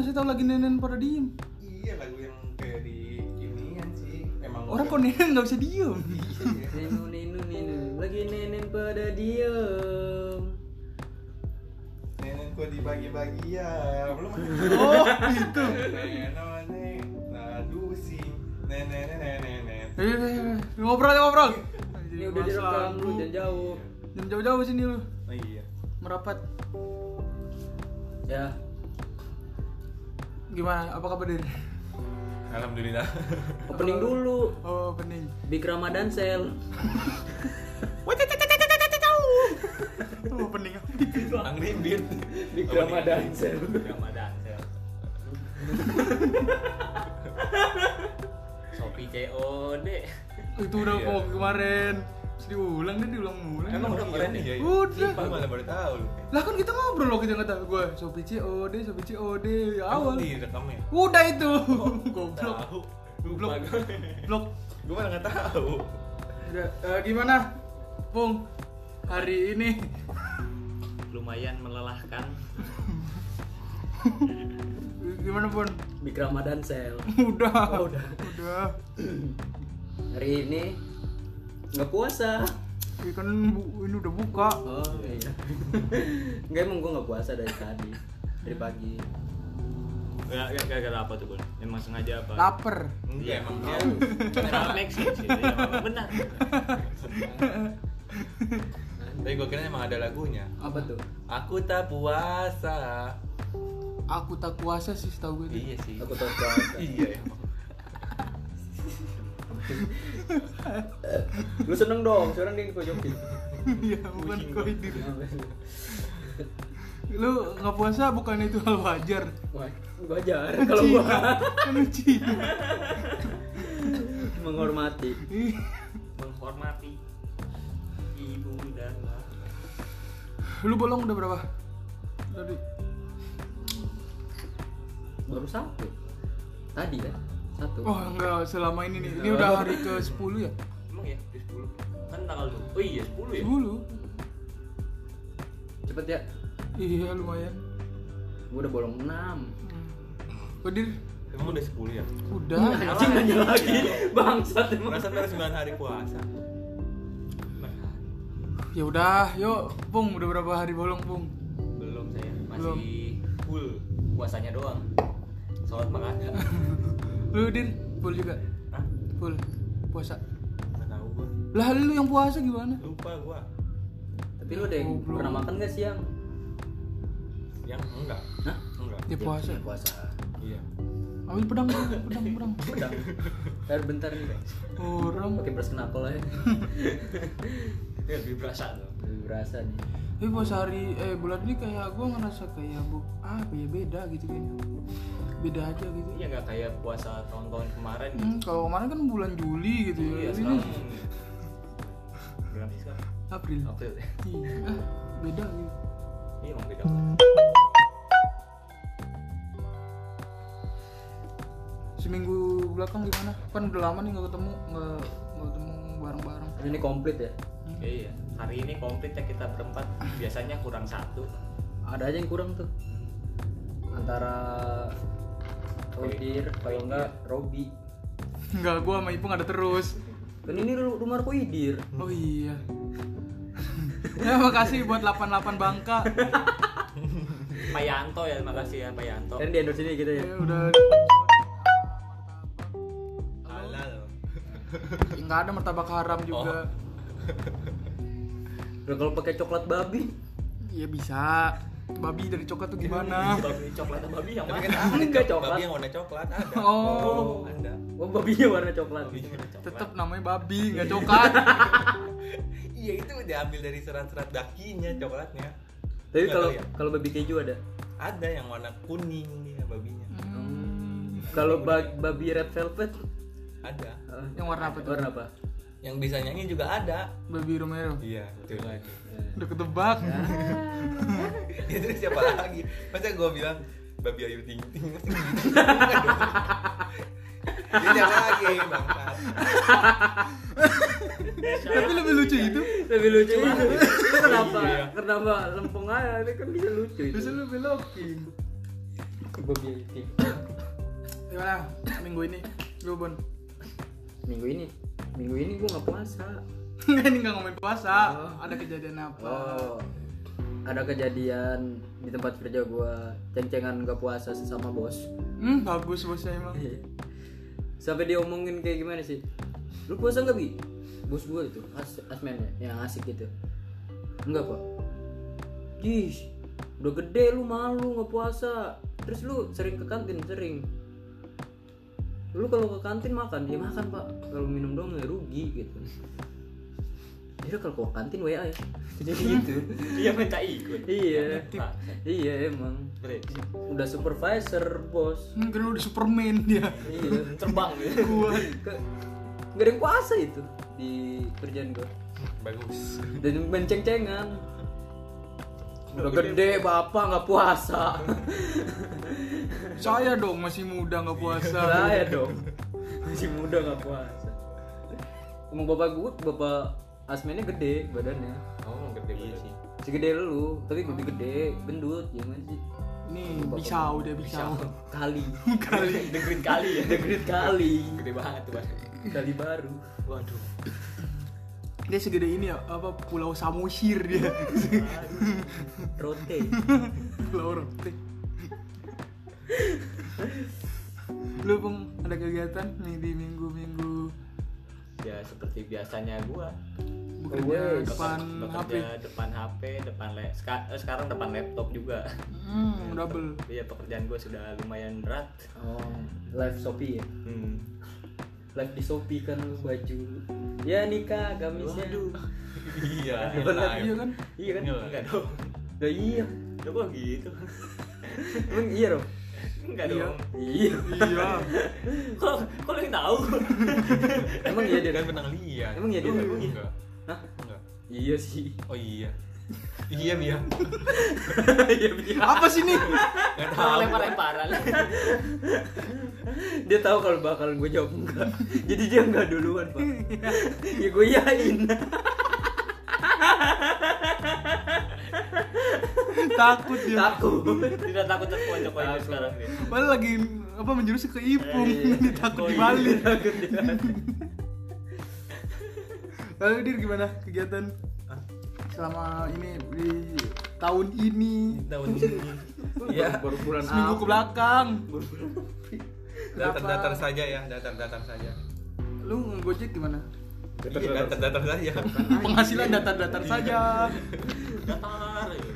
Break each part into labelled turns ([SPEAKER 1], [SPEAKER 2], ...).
[SPEAKER 1] kasih tahu lagi nenen pada diem
[SPEAKER 2] iya lagu yang kayak di inian sih emang
[SPEAKER 1] orang kok nenen nggak bisa diem
[SPEAKER 2] Iya, iya.
[SPEAKER 3] Nenu nenu nenu lagi nenen pada diem.
[SPEAKER 2] Nenen kok dibagi-bagi ya belum
[SPEAKER 1] oh itu
[SPEAKER 2] Nenen namanya Nadu sih Nenen nenen nenen
[SPEAKER 1] Ayo, ayo, ayo. eh, ngobrol aja, ngobrol
[SPEAKER 3] Ini udah direkam lu jangan jauh.
[SPEAKER 1] jangan jauh-jauh sini lu
[SPEAKER 2] Oh iya
[SPEAKER 1] merapat
[SPEAKER 3] Ya.
[SPEAKER 1] gimana apa kabar dir
[SPEAKER 2] Alhamdulillah
[SPEAKER 3] Opening dulu.
[SPEAKER 1] oh pening
[SPEAKER 3] Big Ramadan sel.
[SPEAKER 1] oh pening
[SPEAKER 2] Angry Beat
[SPEAKER 3] Big Ramadan sel.
[SPEAKER 4] Ramadan sel. Shopee COD.
[SPEAKER 1] itu udah
[SPEAKER 2] Iya.
[SPEAKER 1] kok kemarin Terus diulang deh diulang ulang
[SPEAKER 2] Emang udah keren ya?
[SPEAKER 1] Udah.
[SPEAKER 2] Lu malah baru tahu lu
[SPEAKER 1] lah kan kita ngobrol loh kita nggak tahu gue sopi COD sopi COD ya awal
[SPEAKER 2] Di rekamnya
[SPEAKER 1] udah itu goblok
[SPEAKER 2] iya? Tahu
[SPEAKER 1] goblok goblok
[SPEAKER 2] Gue malah gak tahu
[SPEAKER 1] udah eh, gimana Pung hari ini
[SPEAKER 4] Lumayan melelahkan.
[SPEAKER 1] gimana Pun
[SPEAKER 3] Big Ramadan sel.
[SPEAKER 1] udah
[SPEAKER 3] Oh, udah.
[SPEAKER 1] udah
[SPEAKER 3] Hari ini nggak puasa.
[SPEAKER 1] Ya kan bu- ini udah buka
[SPEAKER 3] Oh iya. Enggak emang gue nggak puasa dari tadi dari pagi.
[SPEAKER 4] Gak gak gak gak apa tuh bun? Emang sengaja apa?
[SPEAKER 1] lapar
[SPEAKER 2] Enggak
[SPEAKER 4] Iya.
[SPEAKER 2] emang
[SPEAKER 4] Oh.
[SPEAKER 2] dia
[SPEAKER 4] Kenapa make sense gitu ya? Emang Benar.
[SPEAKER 2] Tapi gue kira emang ada lagunya
[SPEAKER 3] Apa tuh?
[SPEAKER 2] Aku tak puasa
[SPEAKER 1] aku tak kuasa sih setahu gue
[SPEAKER 2] Iya sih
[SPEAKER 3] Aku tahu puasa.
[SPEAKER 2] Iya emang
[SPEAKER 3] Lu seneng dong, sekarang dia dikojokin.
[SPEAKER 1] iya bukan kau itu lu nggak puasa bukan itu hal wajar
[SPEAKER 3] Wah, gua ajar kalau gua
[SPEAKER 1] kan lu Cina.
[SPEAKER 3] menghormati.
[SPEAKER 1] Ih,
[SPEAKER 4] Menghormati ibu dan
[SPEAKER 1] lu bolong udah berapa tadi
[SPEAKER 3] Baru satu. Tadi kan? Satu.
[SPEAKER 1] oh enggak selama ini nih ini udah hari ke 10 ya
[SPEAKER 4] Emang ya di 10 kan tanggal dua. Oh iya 10 ya.
[SPEAKER 1] 10
[SPEAKER 3] Cepet ya.
[SPEAKER 1] iya lumayan
[SPEAKER 3] Gua udah bolong 6.
[SPEAKER 1] Kodir
[SPEAKER 2] Emang udah 10 ya?
[SPEAKER 1] udah
[SPEAKER 3] Anjing nanya lagi.
[SPEAKER 1] Iya.
[SPEAKER 3] Bangsat emang.
[SPEAKER 2] Merasa baru 9 hari puasa Nah,
[SPEAKER 1] ya udah yuk Pung udah berapa hari bolong Pung
[SPEAKER 4] Belum saya
[SPEAKER 1] Belum.
[SPEAKER 4] masih full puasanya doang. Sholat mah ada.
[SPEAKER 1] lu Dir full juga
[SPEAKER 4] Hah?
[SPEAKER 1] full puasa
[SPEAKER 2] Gak tau gue
[SPEAKER 1] lah lu yang puasa gimana
[SPEAKER 2] Lupa gue
[SPEAKER 3] Tapi lu ada yang
[SPEAKER 1] Goblok.
[SPEAKER 3] pernah makan gak siang?
[SPEAKER 2] Yang enggak
[SPEAKER 3] Hah?
[SPEAKER 2] Enggak
[SPEAKER 1] ya puasa
[SPEAKER 3] Ya, puasa.
[SPEAKER 2] Iya
[SPEAKER 1] ambil pedang pedang pedang
[SPEAKER 3] Udah. Ntar bentar nih.
[SPEAKER 1] orang
[SPEAKER 3] Pakai beras kenakol aja.
[SPEAKER 4] Ya lebih berasa tuh.
[SPEAKER 3] Lebih berasa nih.
[SPEAKER 1] tapi puasa hari eh bulan ini kayak gue ngerasa kayak bu apa ya beda gitu kayaknya beda aja gitu
[SPEAKER 4] Iya nggak kayak puasa tahun-tahun kemarin gitu.
[SPEAKER 1] Hmm, kalau kemarin kan bulan Juli gitu ya.
[SPEAKER 2] Hmm.
[SPEAKER 4] Iya
[SPEAKER 1] ini
[SPEAKER 4] sekarang. Bulan sih sekarang?
[SPEAKER 1] April.
[SPEAKER 4] April ya.
[SPEAKER 1] Iya, ah, beda gitu.
[SPEAKER 4] Iya emang beda.
[SPEAKER 1] Seminggu belakang gimana? Kan udah lama nih nggak ketemu, nggak nggak ketemu bareng-bareng.
[SPEAKER 3] Ini komplit ya.
[SPEAKER 4] Iya. Hari ini komplit ya kita berempat. Biasanya kurang satu.
[SPEAKER 3] Ada aja yang kurang tuh. Antara Kodir, kalau enggak Robi.
[SPEAKER 1] Enggak, gua sama Ipung ada terus.
[SPEAKER 3] Kan ini ru- rumah Kodir.
[SPEAKER 1] Oh iya. ya makasih buat 88 Bangka.
[SPEAKER 4] Pak Yanto ya, makasih ya Pak
[SPEAKER 1] Oh.
[SPEAKER 4] Yanto.
[SPEAKER 2] Eh,
[SPEAKER 3] Kan di endorse ini gitu ya.
[SPEAKER 1] Ya, udah
[SPEAKER 2] Halal
[SPEAKER 1] nggak ada martabak haram juga.
[SPEAKER 4] Oh.
[SPEAKER 3] Udah Nah, kalau pakai coklat babi.
[SPEAKER 1] Iya bisa. Babi dari coklat tuh gimana?
[SPEAKER 3] Iya.
[SPEAKER 4] Babi coklat babi yang
[SPEAKER 2] Tapi
[SPEAKER 4] mana?
[SPEAKER 2] kan ada
[SPEAKER 3] Enggak,
[SPEAKER 2] coklat.
[SPEAKER 3] coklat.
[SPEAKER 2] Babi yang warna coklat ada
[SPEAKER 1] Oh.
[SPEAKER 2] Ada
[SPEAKER 3] Oh, babinya warna coklat.
[SPEAKER 2] Babinya warna coklat
[SPEAKER 1] Tetap namanya babi, nggak coklat.
[SPEAKER 2] Iya itu diambil dari serat-serat dakinya coklatnya
[SPEAKER 3] Tapi
[SPEAKER 2] Nggak
[SPEAKER 3] kalau
[SPEAKER 2] tahu ya.
[SPEAKER 3] kalau babi keju ada.
[SPEAKER 2] Ada yang warna kuning dia babinya
[SPEAKER 1] Hmm.
[SPEAKER 3] Kalau ba- babi red velvet
[SPEAKER 2] Ada
[SPEAKER 3] eh,
[SPEAKER 1] Yang warna apa tuh?
[SPEAKER 3] warna apa?
[SPEAKER 2] Yang bisa nyanyi juga ada
[SPEAKER 1] Babi Romero.
[SPEAKER 2] Iya betul lagi
[SPEAKER 1] Udah ketebak.
[SPEAKER 3] Iya.
[SPEAKER 2] Ya terus siapa lagi? Masa gue bilang Babi Ayu Ting Ting Masa gitu? Ya siapa lagi bangsat
[SPEAKER 1] Tapi lebih lucu itu.
[SPEAKER 3] Lebih lucu itu.
[SPEAKER 2] Iya.
[SPEAKER 3] Itu kenapa? Kenapa lempeng aja? Ini kan bisa lucu itu.
[SPEAKER 1] Biasanya lu belokin.
[SPEAKER 3] Bobby Ayu Ting.
[SPEAKER 1] gimana Ya minggu ini lu bon
[SPEAKER 3] Minggu ini, minggu ini gue nggak puasa.
[SPEAKER 1] ini nggak ngomongin puasa
[SPEAKER 3] Oh.
[SPEAKER 1] ada kejadian apa
[SPEAKER 3] Oh, ada kejadian di tempat kerja gue ceng-cengan gak puasa sesama bos.
[SPEAKER 1] hmm bagus bosnya emang
[SPEAKER 3] Iya. Sampai diomongin kayak gimana sih? Lu puasa nggak bi? Bos gue itu, as asmen ya, yang asik gitu. Enggak pak. Jis, udah gede lu malu nggak puasa. Terus lu sering ke kantin sering. Lu kalau ke kantin makan, ya makan pak. Kalau minum doang ya rugi gitu. Jadi kalau ke kantin WA ya. Jadi gitu.
[SPEAKER 4] Dia minta ikut.
[SPEAKER 3] Iya.
[SPEAKER 4] Nah,
[SPEAKER 3] Iya emang.
[SPEAKER 4] brengsek.
[SPEAKER 3] Udah supervisor bos.
[SPEAKER 1] hmm, karena udah superman dia
[SPEAKER 3] Iya.
[SPEAKER 4] Terbang dia.
[SPEAKER 1] kuat
[SPEAKER 3] Ke, gak ada yang kuasa itu di kerjaan gue.
[SPEAKER 2] bagus
[SPEAKER 3] Dan menceng-cengan. Udah
[SPEAKER 4] Udah
[SPEAKER 3] gede bapak nggak puasa.
[SPEAKER 1] saya dong masih muda nggak puasa
[SPEAKER 3] Iya. Saya ya dong. Masih muda nggak puasa. Emang bapak gue, bapak asmennya gede badannya.
[SPEAKER 2] oh gede iya sih
[SPEAKER 3] Segede lu, tapi gede gede, gendut, gimana sih?
[SPEAKER 1] nih pisau dia pisau
[SPEAKER 3] Kali,
[SPEAKER 1] kali
[SPEAKER 4] The Green kali ya.
[SPEAKER 3] gede kali,
[SPEAKER 4] Gede banget tuh, Bang.
[SPEAKER 3] kali baru.
[SPEAKER 4] Waduh.
[SPEAKER 1] dia segede ini ya apa pulau samosir dia
[SPEAKER 3] Rote.
[SPEAKER 1] pulau rote lu bang ada kegiatan nih di minggu minggu
[SPEAKER 4] Ya seperti biasanya gua.
[SPEAKER 1] bekerja
[SPEAKER 3] Wes.
[SPEAKER 1] depan HP
[SPEAKER 4] Bekerja depan HP, depan le- ska- eh, sekarang depan laptop juga.
[SPEAKER 1] hmm, double
[SPEAKER 4] Iya, pekerjaan gua sudah lumayan berat.
[SPEAKER 3] Oh, live Shopee ya?
[SPEAKER 4] Hmm.
[SPEAKER 3] Live di Shopee kan lu baju Ya nikah gamisnya
[SPEAKER 4] Waduh.
[SPEAKER 2] iya
[SPEAKER 1] iya kan
[SPEAKER 3] Iya kan?
[SPEAKER 4] Enggak dong.
[SPEAKER 3] Lah iya
[SPEAKER 4] Lu kok gitu?
[SPEAKER 3] Emang iya dong?
[SPEAKER 4] Enggak
[SPEAKER 1] Iya.
[SPEAKER 4] dong.
[SPEAKER 3] Iya
[SPEAKER 1] iya
[SPEAKER 4] Kok kok lu yang tahu?
[SPEAKER 3] Emang iya dia
[SPEAKER 2] kan pernah lihat
[SPEAKER 3] Emang iya, Dit?
[SPEAKER 4] kan?
[SPEAKER 2] Enggak,
[SPEAKER 3] Emang iya?
[SPEAKER 2] enggak
[SPEAKER 3] Hah?
[SPEAKER 2] enggak
[SPEAKER 3] Iya sih
[SPEAKER 2] oh iya iya Bia
[SPEAKER 3] Iya iya.
[SPEAKER 1] apa sih nih
[SPEAKER 2] nggak
[SPEAKER 4] Malah
[SPEAKER 2] tahu
[SPEAKER 4] lempar-lemparan.
[SPEAKER 3] Dia tahu kalau bakalan gue jawab enggak Jadi dia enggak duluan pak Ya gue yain
[SPEAKER 1] takut dia
[SPEAKER 3] Takut
[SPEAKER 4] Tidak takut terpojok lagi
[SPEAKER 3] Takut.
[SPEAKER 4] sekarang nih.
[SPEAKER 1] malah lagi apa menjurus ke ipung
[SPEAKER 3] Iya.
[SPEAKER 1] ditakut
[SPEAKER 4] Oh, iya.
[SPEAKER 1] dibalik
[SPEAKER 3] Takut dia
[SPEAKER 1] lalu dir gimana kegiatan ah, selama ini di tahun ini
[SPEAKER 2] tahun ini
[SPEAKER 3] Iya Baru bulan
[SPEAKER 1] seminggu ke belakang
[SPEAKER 2] datar datar saja ya datar datar saja
[SPEAKER 1] lu ngegojek gimana
[SPEAKER 2] Iya, datar datar saja
[SPEAKER 1] penghasilan datar-datar saja
[SPEAKER 4] Datar. ya.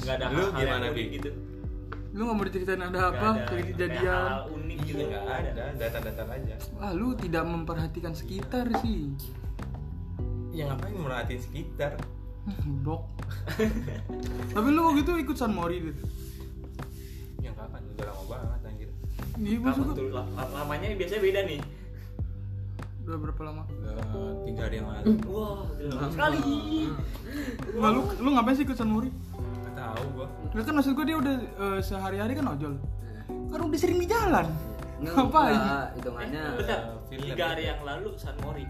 [SPEAKER 4] Enggak ada
[SPEAKER 2] Lu
[SPEAKER 4] hal-hal yang
[SPEAKER 2] gimana,
[SPEAKER 4] unik
[SPEAKER 2] Bi?
[SPEAKER 4] gitu.
[SPEAKER 1] lu nggak mau diceritain ada
[SPEAKER 4] Nggak
[SPEAKER 1] apa
[SPEAKER 4] ada
[SPEAKER 1] dari
[SPEAKER 4] kayak
[SPEAKER 1] kejadian
[SPEAKER 4] hal unik gitu
[SPEAKER 2] iya nggak ada datar datar aja
[SPEAKER 1] ah lu tidak memperhatikan sekitar sih
[SPEAKER 2] ya ngapain merhatiin sekitar
[SPEAKER 1] Hmm, blok tapi lu waktu itu ikut San Mori gitu
[SPEAKER 2] yang kapan Ya, udah lama banget anjir
[SPEAKER 1] iya gua
[SPEAKER 4] Kapan
[SPEAKER 1] suka
[SPEAKER 4] tuh la- la- lamanya biasanya beda nih.
[SPEAKER 1] udah berapa lama
[SPEAKER 2] udah Eh, tiga hari yang lalu
[SPEAKER 4] Wah,
[SPEAKER 3] Iya.
[SPEAKER 4] wow, sekali.
[SPEAKER 1] Nah, lu, lu ngapain sih ikut San Mori?
[SPEAKER 2] nggak tahu gua
[SPEAKER 1] Ya kan maksud gue dia udah eh, sehari-hari kan ojol Kan udah sering di jalan
[SPEAKER 3] Ngapain?
[SPEAKER 1] Ngapain?
[SPEAKER 3] Hitungannya
[SPEAKER 4] Eh, Bentar,
[SPEAKER 2] film.
[SPEAKER 4] tiga hari yang lalu San Mori.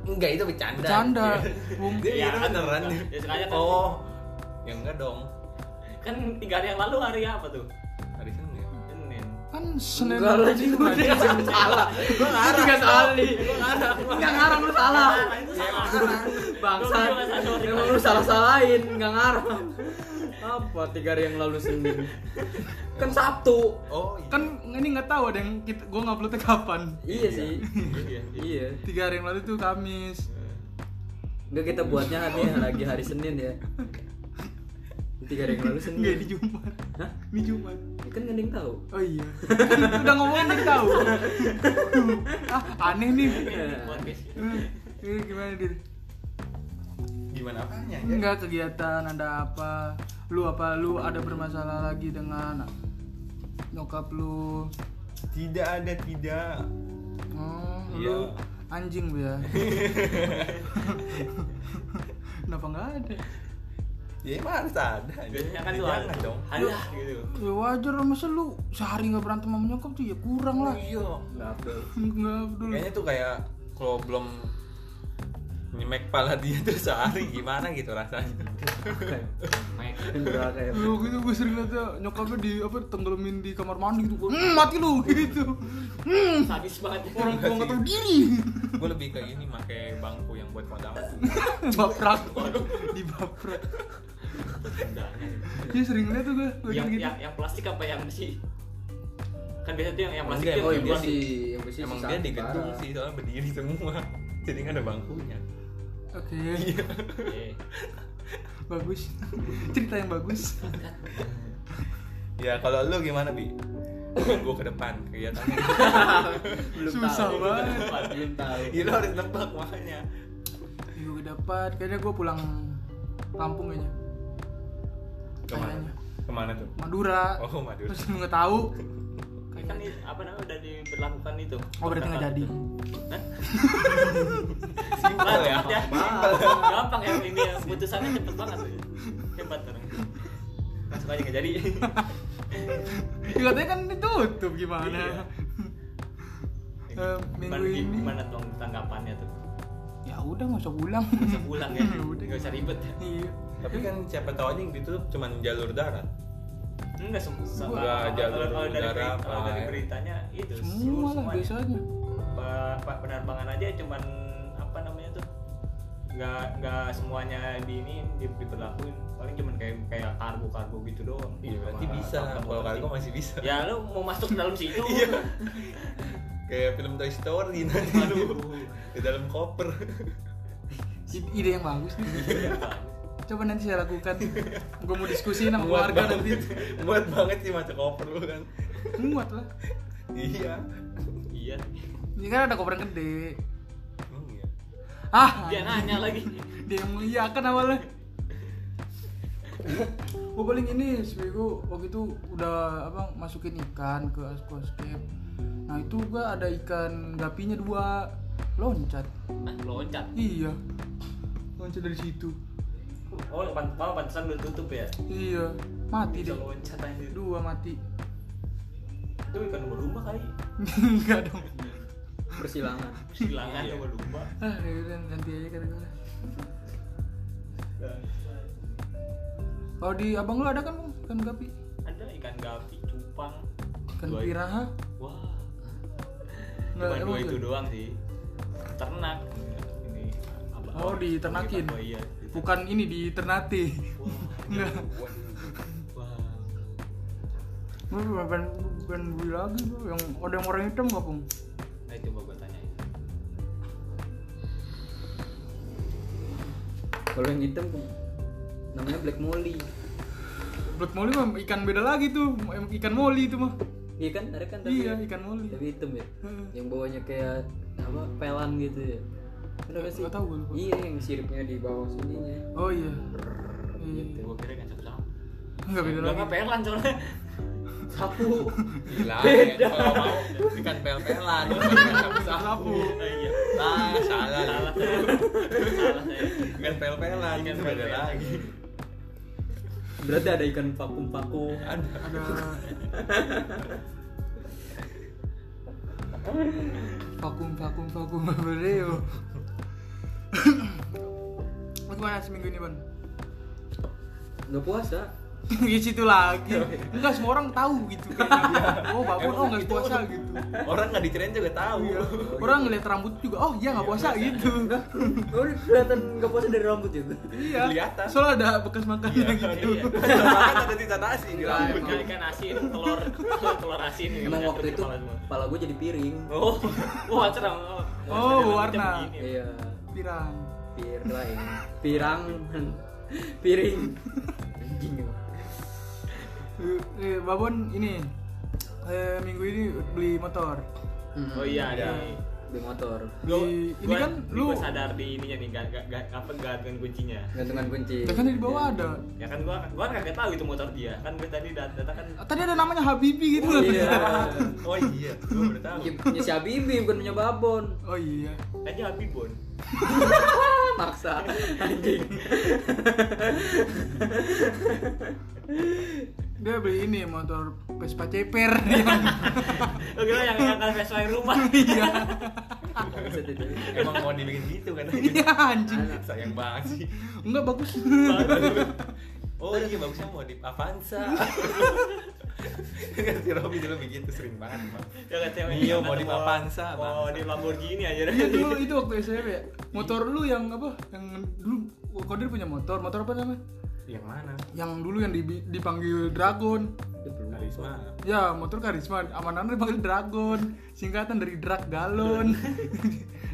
[SPEAKER 2] enggak itu bercanda
[SPEAKER 1] Bercanda Bung.
[SPEAKER 2] dia
[SPEAKER 4] Iya,
[SPEAKER 2] ya, beneran
[SPEAKER 4] kan. Ya, sengaja kan.
[SPEAKER 2] oh ya enggak dong
[SPEAKER 4] Kan tiga hari yang lalu hari apa tuh?
[SPEAKER 2] hari senin ya
[SPEAKER 4] Senin.
[SPEAKER 1] Kan Senin
[SPEAKER 3] Enggak lah,
[SPEAKER 1] Rabu,
[SPEAKER 3] itu
[SPEAKER 1] Jumat.
[SPEAKER 3] salah Gue tiga kali Gue ngarang Enggak ngarang, lu salah
[SPEAKER 4] Salah, itu salah.
[SPEAKER 3] Bangsa,
[SPEAKER 4] Lu juga San Mori.
[SPEAKER 3] emang lu salah-salahin, nggak ngarang Apa, tiga hari yang lalu Senin Kan Sabtu
[SPEAKER 2] oh iya
[SPEAKER 1] Kan ini nggak tahu ada yang kita, gue nguploadnya kapan
[SPEAKER 3] Iya sih
[SPEAKER 4] Iya.
[SPEAKER 3] Iya
[SPEAKER 1] Tiga hari yang lalu tuh Kamis
[SPEAKER 3] Enggak kita buatnya hari lagi hari Senin ya Tiga hari yang lalu Senin
[SPEAKER 1] Enggak ini Iya, Jumat
[SPEAKER 3] Hah?
[SPEAKER 1] Ini Jumat
[SPEAKER 3] Ya kan gak ada yang tau
[SPEAKER 1] Oh iya Kan udah ngomongin dia tahu Ah aneh nih
[SPEAKER 3] Iya.
[SPEAKER 4] Podcast.
[SPEAKER 1] Eh, Ini gimana dir?
[SPEAKER 2] gimana apanya ya
[SPEAKER 1] Enggak kegiatan ada apa Lu apa lu ada bermasalah lagi dengan Nyokap lu
[SPEAKER 2] tidak ada tidak
[SPEAKER 1] Oh,
[SPEAKER 2] Iya.
[SPEAKER 1] lu anjing lu ya. Kenapa nggak ada?
[SPEAKER 2] ya emang harus ada anjir.
[SPEAKER 4] Biasanya kan
[SPEAKER 2] Ya,
[SPEAKER 4] tuh
[SPEAKER 2] jangan
[SPEAKER 4] ada
[SPEAKER 2] dong
[SPEAKER 4] Alah gitu.
[SPEAKER 1] Ya wajar lah masa lu sehari nggak berantem sama nyokap tuh ya kurang lah.
[SPEAKER 2] iya
[SPEAKER 3] Gak Abdul
[SPEAKER 1] Nggak dulu.
[SPEAKER 2] kayaknya tuh kayak kalau belum nyemek pala dia tuh sehari gimana gitu rasanya
[SPEAKER 3] Enggak kayak
[SPEAKER 1] lu gitu gue sering liat ya, nyokapnya di apa tenggelamin di kamar mandi gitu hmm, mati lu gitu hmm,
[SPEAKER 4] sadis banget
[SPEAKER 1] orang tua nggak tahu diri
[SPEAKER 2] gue lebih ke ini pakai bangku yang buat kodam
[SPEAKER 1] baprak di baprak ya sering liat tuh gue gue
[SPEAKER 4] yang,
[SPEAKER 1] gitu
[SPEAKER 4] yang, yang plastik apa yang besi kan biasa tuh yang, yang plastik
[SPEAKER 2] Enggak,
[SPEAKER 4] tuh
[SPEAKER 3] Oh
[SPEAKER 4] yang
[SPEAKER 3] iya
[SPEAKER 4] plastik.
[SPEAKER 3] sih, yang besi
[SPEAKER 2] emang
[SPEAKER 3] sih
[SPEAKER 2] dia
[SPEAKER 3] sakit
[SPEAKER 2] di gedung
[SPEAKER 3] parah.
[SPEAKER 2] sih soalnya berdiri semua jadi nggak ada bangkunya
[SPEAKER 1] oke
[SPEAKER 4] Iya.
[SPEAKER 1] bagus cerita yang bagus
[SPEAKER 2] ya kalau lu gimana bi gue ke depan kelihatannya
[SPEAKER 3] Belum
[SPEAKER 1] Susah
[SPEAKER 3] tahu.
[SPEAKER 1] banget.
[SPEAKER 3] Belum tahu.
[SPEAKER 2] ya lo harus nebak makanya
[SPEAKER 1] minggu dapat kayaknya gue pulang kampung kayaknya
[SPEAKER 2] kemana
[SPEAKER 1] Kayaknya.
[SPEAKER 2] kemana tuh
[SPEAKER 1] Madura
[SPEAKER 2] Oh,
[SPEAKER 4] iya.
[SPEAKER 2] Madura.
[SPEAKER 1] terus lu nggak tahu
[SPEAKER 4] kan ini apa namanya udah diberlakukan itu
[SPEAKER 1] oh berarti nggak jadi
[SPEAKER 2] simpel ya
[SPEAKER 4] ya gampang ya ini ya putusannya cepet banget hebat orang langsung aja nggak jadi
[SPEAKER 1] ya, katanya kan ditutup gimana
[SPEAKER 4] Iya.
[SPEAKER 1] Eh, minggu
[SPEAKER 4] Gimana-
[SPEAKER 1] ini.
[SPEAKER 4] gimana tuh tanggapannya tuh
[SPEAKER 1] ya udah nggak usah pulang
[SPEAKER 4] Nggak usah pulang ya
[SPEAKER 1] Ya udah.
[SPEAKER 4] nggak usah ribet ya
[SPEAKER 1] iya
[SPEAKER 2] tapi kan siapa tahu aja yang ditutup cuman jalur darat
[SPEAKER 4] enggak semua sama
[SPEAKER 2] Enggak, jalur
[SPEAKER 4] kalau dari,
[SPEAKER 2] udara
[SPEAKER 4] berita- kalau
[SPEAKER 2] apa,
[SPEAKER 4] dari
[SPEAKER 2] ya?
[SPEAKER 4] beritanya itu seluruh
[SPEAKER 1] semua lah
[SPEAKER 4] semuanya.
[SPEAKER 1] biasanya
[SPEAKER 4] Pe- pe- penerbangan aja cuman apa namanya tuh nggak nggak semuanya di ini di- diberlakuin paling cuman kayak kayak kargo kargo gitu doang
[SPEAKER 2] iya berarti
[SPEAKER 4] Sama-
[SPEAKER 2] bisa
[SPEAKER 4] sama-
[SPEAKER 2] kalau
[SPEAKER 4] sama-
[SPEAKER 2] kargo masih bisa
[SPEAKER 4] ya lu mau masuk ke dalam situ
[SPEAKER 2] kayak film Toy Story nanti
[SPEAKER 4] Aduh.
[SPEAKER 2] di dalam koper
[SPEAKER 1] I- ide yang bagus nih coba nanti saya lakukan gue mau diskusi sama keluarga nanti
[SPEAKER 2] banget muat banget sih masuk koper lu kan
[SPEAKER 1] muat lah
[SPEAKER 2] iya
[SPEAKER 4] iya
[SPEAKER 1] ini kan ada koper yang gede
[SPEAKER 2] Emang iya
[SPEAKER 1] ah
[SPEAKER 4] dia nanya lagi
[SPEAKER 1] dia yang mengiyakan awalnya gue paling ini seminggu waktu itu udah apa masukin ikan ke aquascape nah itu gua ada ikan gapinya dua loncat
[SPEAKER 4] Hah, Ah, loncat
[SPEAKER 1] iya loncat dari situ
[SPEAKER 4] oh pan malah pantesan udah tutup ya
[SPEAKER 1] iya mati
[SPEAKER 4] bisa
[SPEAKER 1] deh
[SPEAKER 4] loncat aja itu
[SPEAKER 1] dua mati
[SPEAKER 4] ikan berlumba kali
[SPEAKER 1] enggak dong
[SPEAKER 3] Persilangan.
[SPEAKER 4] silangan ya berlumba
[SPEAKER 1] ah yaudah, nanti aja kata gue kalau di abang lu ada kan Bang, ikan gapi
[SPEAKER 4] ada ikan gapi cupang
[SPEAKER 1] ikan
[SPEAKER 4] Dua-
[SPEAKER 1] piraha
[SPEAKER 4] wah
[SPEAKER 1] Nggak,
[SPEAKER 4] cuma dua
[SPEAKER 1] Nah, emang
[SPEAKER 4] itu
[SPEAKER 1] tuh?
[SPEAKER 4] doang sih ternak ini apa
[SPEAKER 1] Oh, diternakin?
[SPEAKER 4] oh iya diternak.
[SPEAKER 1] bukan ini di ternate
[SPEAKER 4] iya,
[SPEAKER 1] enggak
[SPEAKER 4] wah
[SPEAKER 1] Gue bukan bukan beli lagi gue yang ada yang orang hitam gak pung?
[SPEAKER 4] nah coba gue tanya
[SPEAKER 3] Kalau yang hitam namanya Black Molly.
[SPEAKER 1] Blood molly mah ikan beda lagi tuh, Em- ikan molly itu mah.
[SPEAKER 3] Iya kan? Ada kan tapi
[SPEAKER 1] Iya ikan molly.
[SPEAKER 3] tapi hitam ya.
[SPEAKER 1] Heeh.
[SPEAKER 3] Yang bawahnya kayak apa? Pelan gitu ya. Ada nggak sih?
[SPEAKER 1] Nggak tahu gua lupa.
[SPEAKER 3] Iya, yang siripnya di bawah sininya.
[SPEAKER 1] Oh iya. Iya.
[SPEAKER 3] Gitu.
[SPEAKER 4] gue kira kan satu sama
[SPEAKER 1] Enggak beda
[SPEAKER 4] udah
[SPEAKER 1] lagi.
[SPEAKER 4] nggak pelan soalnya sapu
[SPEAKER 2] gila ya. kalau mau ikan pel-pelan bukan sapu sapu
[SPEAKER 4] Nah, iya
[SPEAKER 2] nah salah lu.
[SPEAKER 4] salah saya salah saya
[SPEAKER 2] ikan pel-pelan
[SPEAKER 4] Ikan
[SPEAKER 2] itu beda
[SPEAKER 4] pel-pelan.
[SPEAKER 2] lagi
[SPEAKER 3] Berarti ada ikan vakum-vakum.
[SPEAKER 2] ada
[SPEAKER 1] Ada. vakum vakum vakum bereo. Lu gimana seminggu ini ban?
[SPEAKER 3] Nggak puasa.
[SPEAKER 1] Di Ya, situ lagi. Enggak semua orang tahu gitu kayaknya. Oh babon oh
[SPEAKER 2] Emang
[SPEAKER 1] nggak
[SPEAKER 2] gitu.
[SPEAKER 1] puasa gitu.
[SPEAKER 2] orang nggak diceritain juga tahu
[SPEAKER 1] Iya. Orang ngeliat rambut juga, oh iya nggak puasa gitu.
[SPEAKER 3] Oh, kelihatan nggak puasa dari rambut ya? itu.
[SPEAKER 1] Iya.
[SPEAKER 2] Kelihatan.
[SPEAKER 1] Soalnya ada bekas makannya gitu.
[SPEAKER 4] iya
[SPEAKER 2] Bahkan ada titan nasi di
[SPEAKER 4] Nah,
[SPEAKER 2] rambut
[SPEAKER 4] emang ikan asin telur telur asin ini
[SPEAKER 3] Emang
[SPEAKER 4] jatuh di
[SPEAKER 3] waktu itu
[SPEAKER 4] kepala semua.
[SPEAKER 3] kepala gue jadi piring.
[SPEAKER 4] oh wah cerah
[SPEAKER 1] Oh, warna.
[SPEAKER 3] Iya.
[SPEAKER 1] Pirang.
[SPEAKER 3] Pir lain. Pirang. Piring. Anjing. ya.
[SPEAKER 1] Eh, eh, babon ini eh, minggu ini beli motor.
[SPEAKER 3] Mm.
[SPEAKER 4] oh iya
[SPEAKER 2] Iya.
[SPEAKER 4] nih
[SPEAKER 3] Di motor.
[SPEAKER 1] Di- ini kan lu-
[SPEAKER 4] gua sadar di ininya nih gak, gak, gak, apa gantungan kuncinya
[SPEAKER 3] Gantungan kunci.
[SPEAKER 1] Ya kan di bawah ada.
[SPEAKER 4] ya kan gua gua kan kagak tahu itu motor dia kan gua tadi dat- datang kan
[SPEAKER 1] Ah, Tadi ada namanya Habibi gitu loh.
[SPEAKER 3] Iya.
[SPEAKER 2] oh iya gue baru tahu
[SPEAKER 3] Ya, punya si Habibi bukan punya Babon.
[SPEAKER 1] Oh iya.
[SPEAKER 4] tadi Habibon
[SPEAKER 3] Ah, maksa anjing.
[SPEAKER 1] Dia beli ini motor Vespa Ceper.
[SPEAKER 4] gua kira yang yang kan Vespa yang rumah
[SPEAKER 1] Iya.
[SPEAKER 3] Bangsat itu.
[SPEAKER 2] Emang mau dibikin gitu kan?
[SPEAKER 1] Iya anjing.
[SPEAKER 2] Sayang banget sih.
[SPEAKER 1] Enggak bagus.
[SPEAKER 2] Oh iya bagusnya mau di Avanza. si Robi dulu begitu sering banget Bang.
[SPEAKER 4] Ya kan cewek
[SPEAKER 2] Mio,
[SPEAKER 4] yang
[SPEAKER 2] Iya, mau
[SPEAKER 4] atau
[SPEAKER 2] di Papansa,
[SPEAKER 4] Mau
[SPEAKER 2] Bang.
[SPEAKER 4] di Lamborghini aja
[SPEAKER 1] Iya dulu itu waktu SMP ya. Motor lu yang apa? Yang dulu Kodir punya motor. Motor apa namanya?
[SPEAKER 2] Yang mana?
[SPEAKER 1] Yang dulu yang dibi- dipanggil Dragon.
[SPEAKER 3] Dia belum.
[SPEAKER 2] Karisma.
[SPEAKER 1] Ya, motor karisma. Amanannya dipanggil Dragon. Singkatan dari drag galon.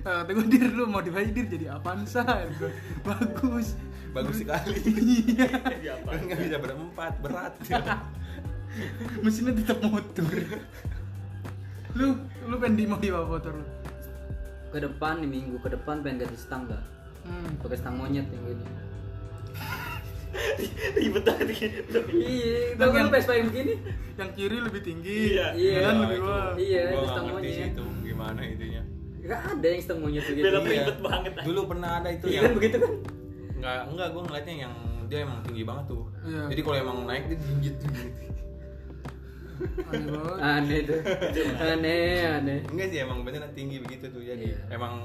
[SPEAKER 1] Nah, kata gue dir lu mau dibayar dir jadi Avanza Gua, bagus
[SPEAKER 2] Bagus sekali.
[SPEAKER 1] iya
[SPEAKER 4] Di Iya. apa?
[SPEAKER 2] Enggak bisa berempat, berat.
[SPEAKER 1] mesinnya tetap motor lu lu pengen di mau di bawah motor lu
[SPEAKER 3] Ke depan nih minggu ke depan pengen ganti stang enggak?
[SPEAKER 1] hmm.
[SPEAKER 3] Pakai stang monyet yang gini.
[SPEAKER 4] Ribet banget gitu.
[SPEAKER 1] Stang
[SPEAKER 3] Iya, kalau lu
[SPEAKER 1] yang-
[SPEAKER 3] Vespa yang begini.
[SPEAKER 1] yang kiri lebih tinggi
[SPEAKER 4] Iya.
[SPEAKER 3] Iya,
[SPEAKER 1] kan
[SPEAKER 2] Wah,
[SPEAKER 1] lebih
[SPEAKER 2] Oh, itu-
[SPEAKER 1] bawah
[SPEAKER 3] Iya,
[SPEAKER 2] gua
[SPEAKER 3] itu
[SPEAKER 2] nggak
[SPEAKER 3] tanggungnya.
[SPEAKER 2] ngerti sih itu gimana itunya.
[SPEAKER 3] Enggak ada yang stang monyet begitu.
[SPEAKER 4] Belok
[SPEAKER 2] Iya.
[SPEAKER 4] Ribet banget, anjing.
[SPEAKER 2] Dulu pernah ada itu
[SPEAKER 3] Iya
[SPEAKER 2] yang
[SPEAKER 3] kan begitu kan?
[SPEAKER 2] Enggak, enggak gua ngeliatnya yang dia emang tinggi banget tuh.
[SPEAKER 1] Iya.
[SPEAKER 2] Jadi kalau emang naik dia jinjit
[SPEAKER 1] aneh banget
[SPEAKER 3] Aneh tuh. Aneh, aneh.
[SPEAKER 2] Enggak sih emang beneran tinggi begitu tuh jadi
[SPEAKER 3] Iya.
[SPEAKER 2] emang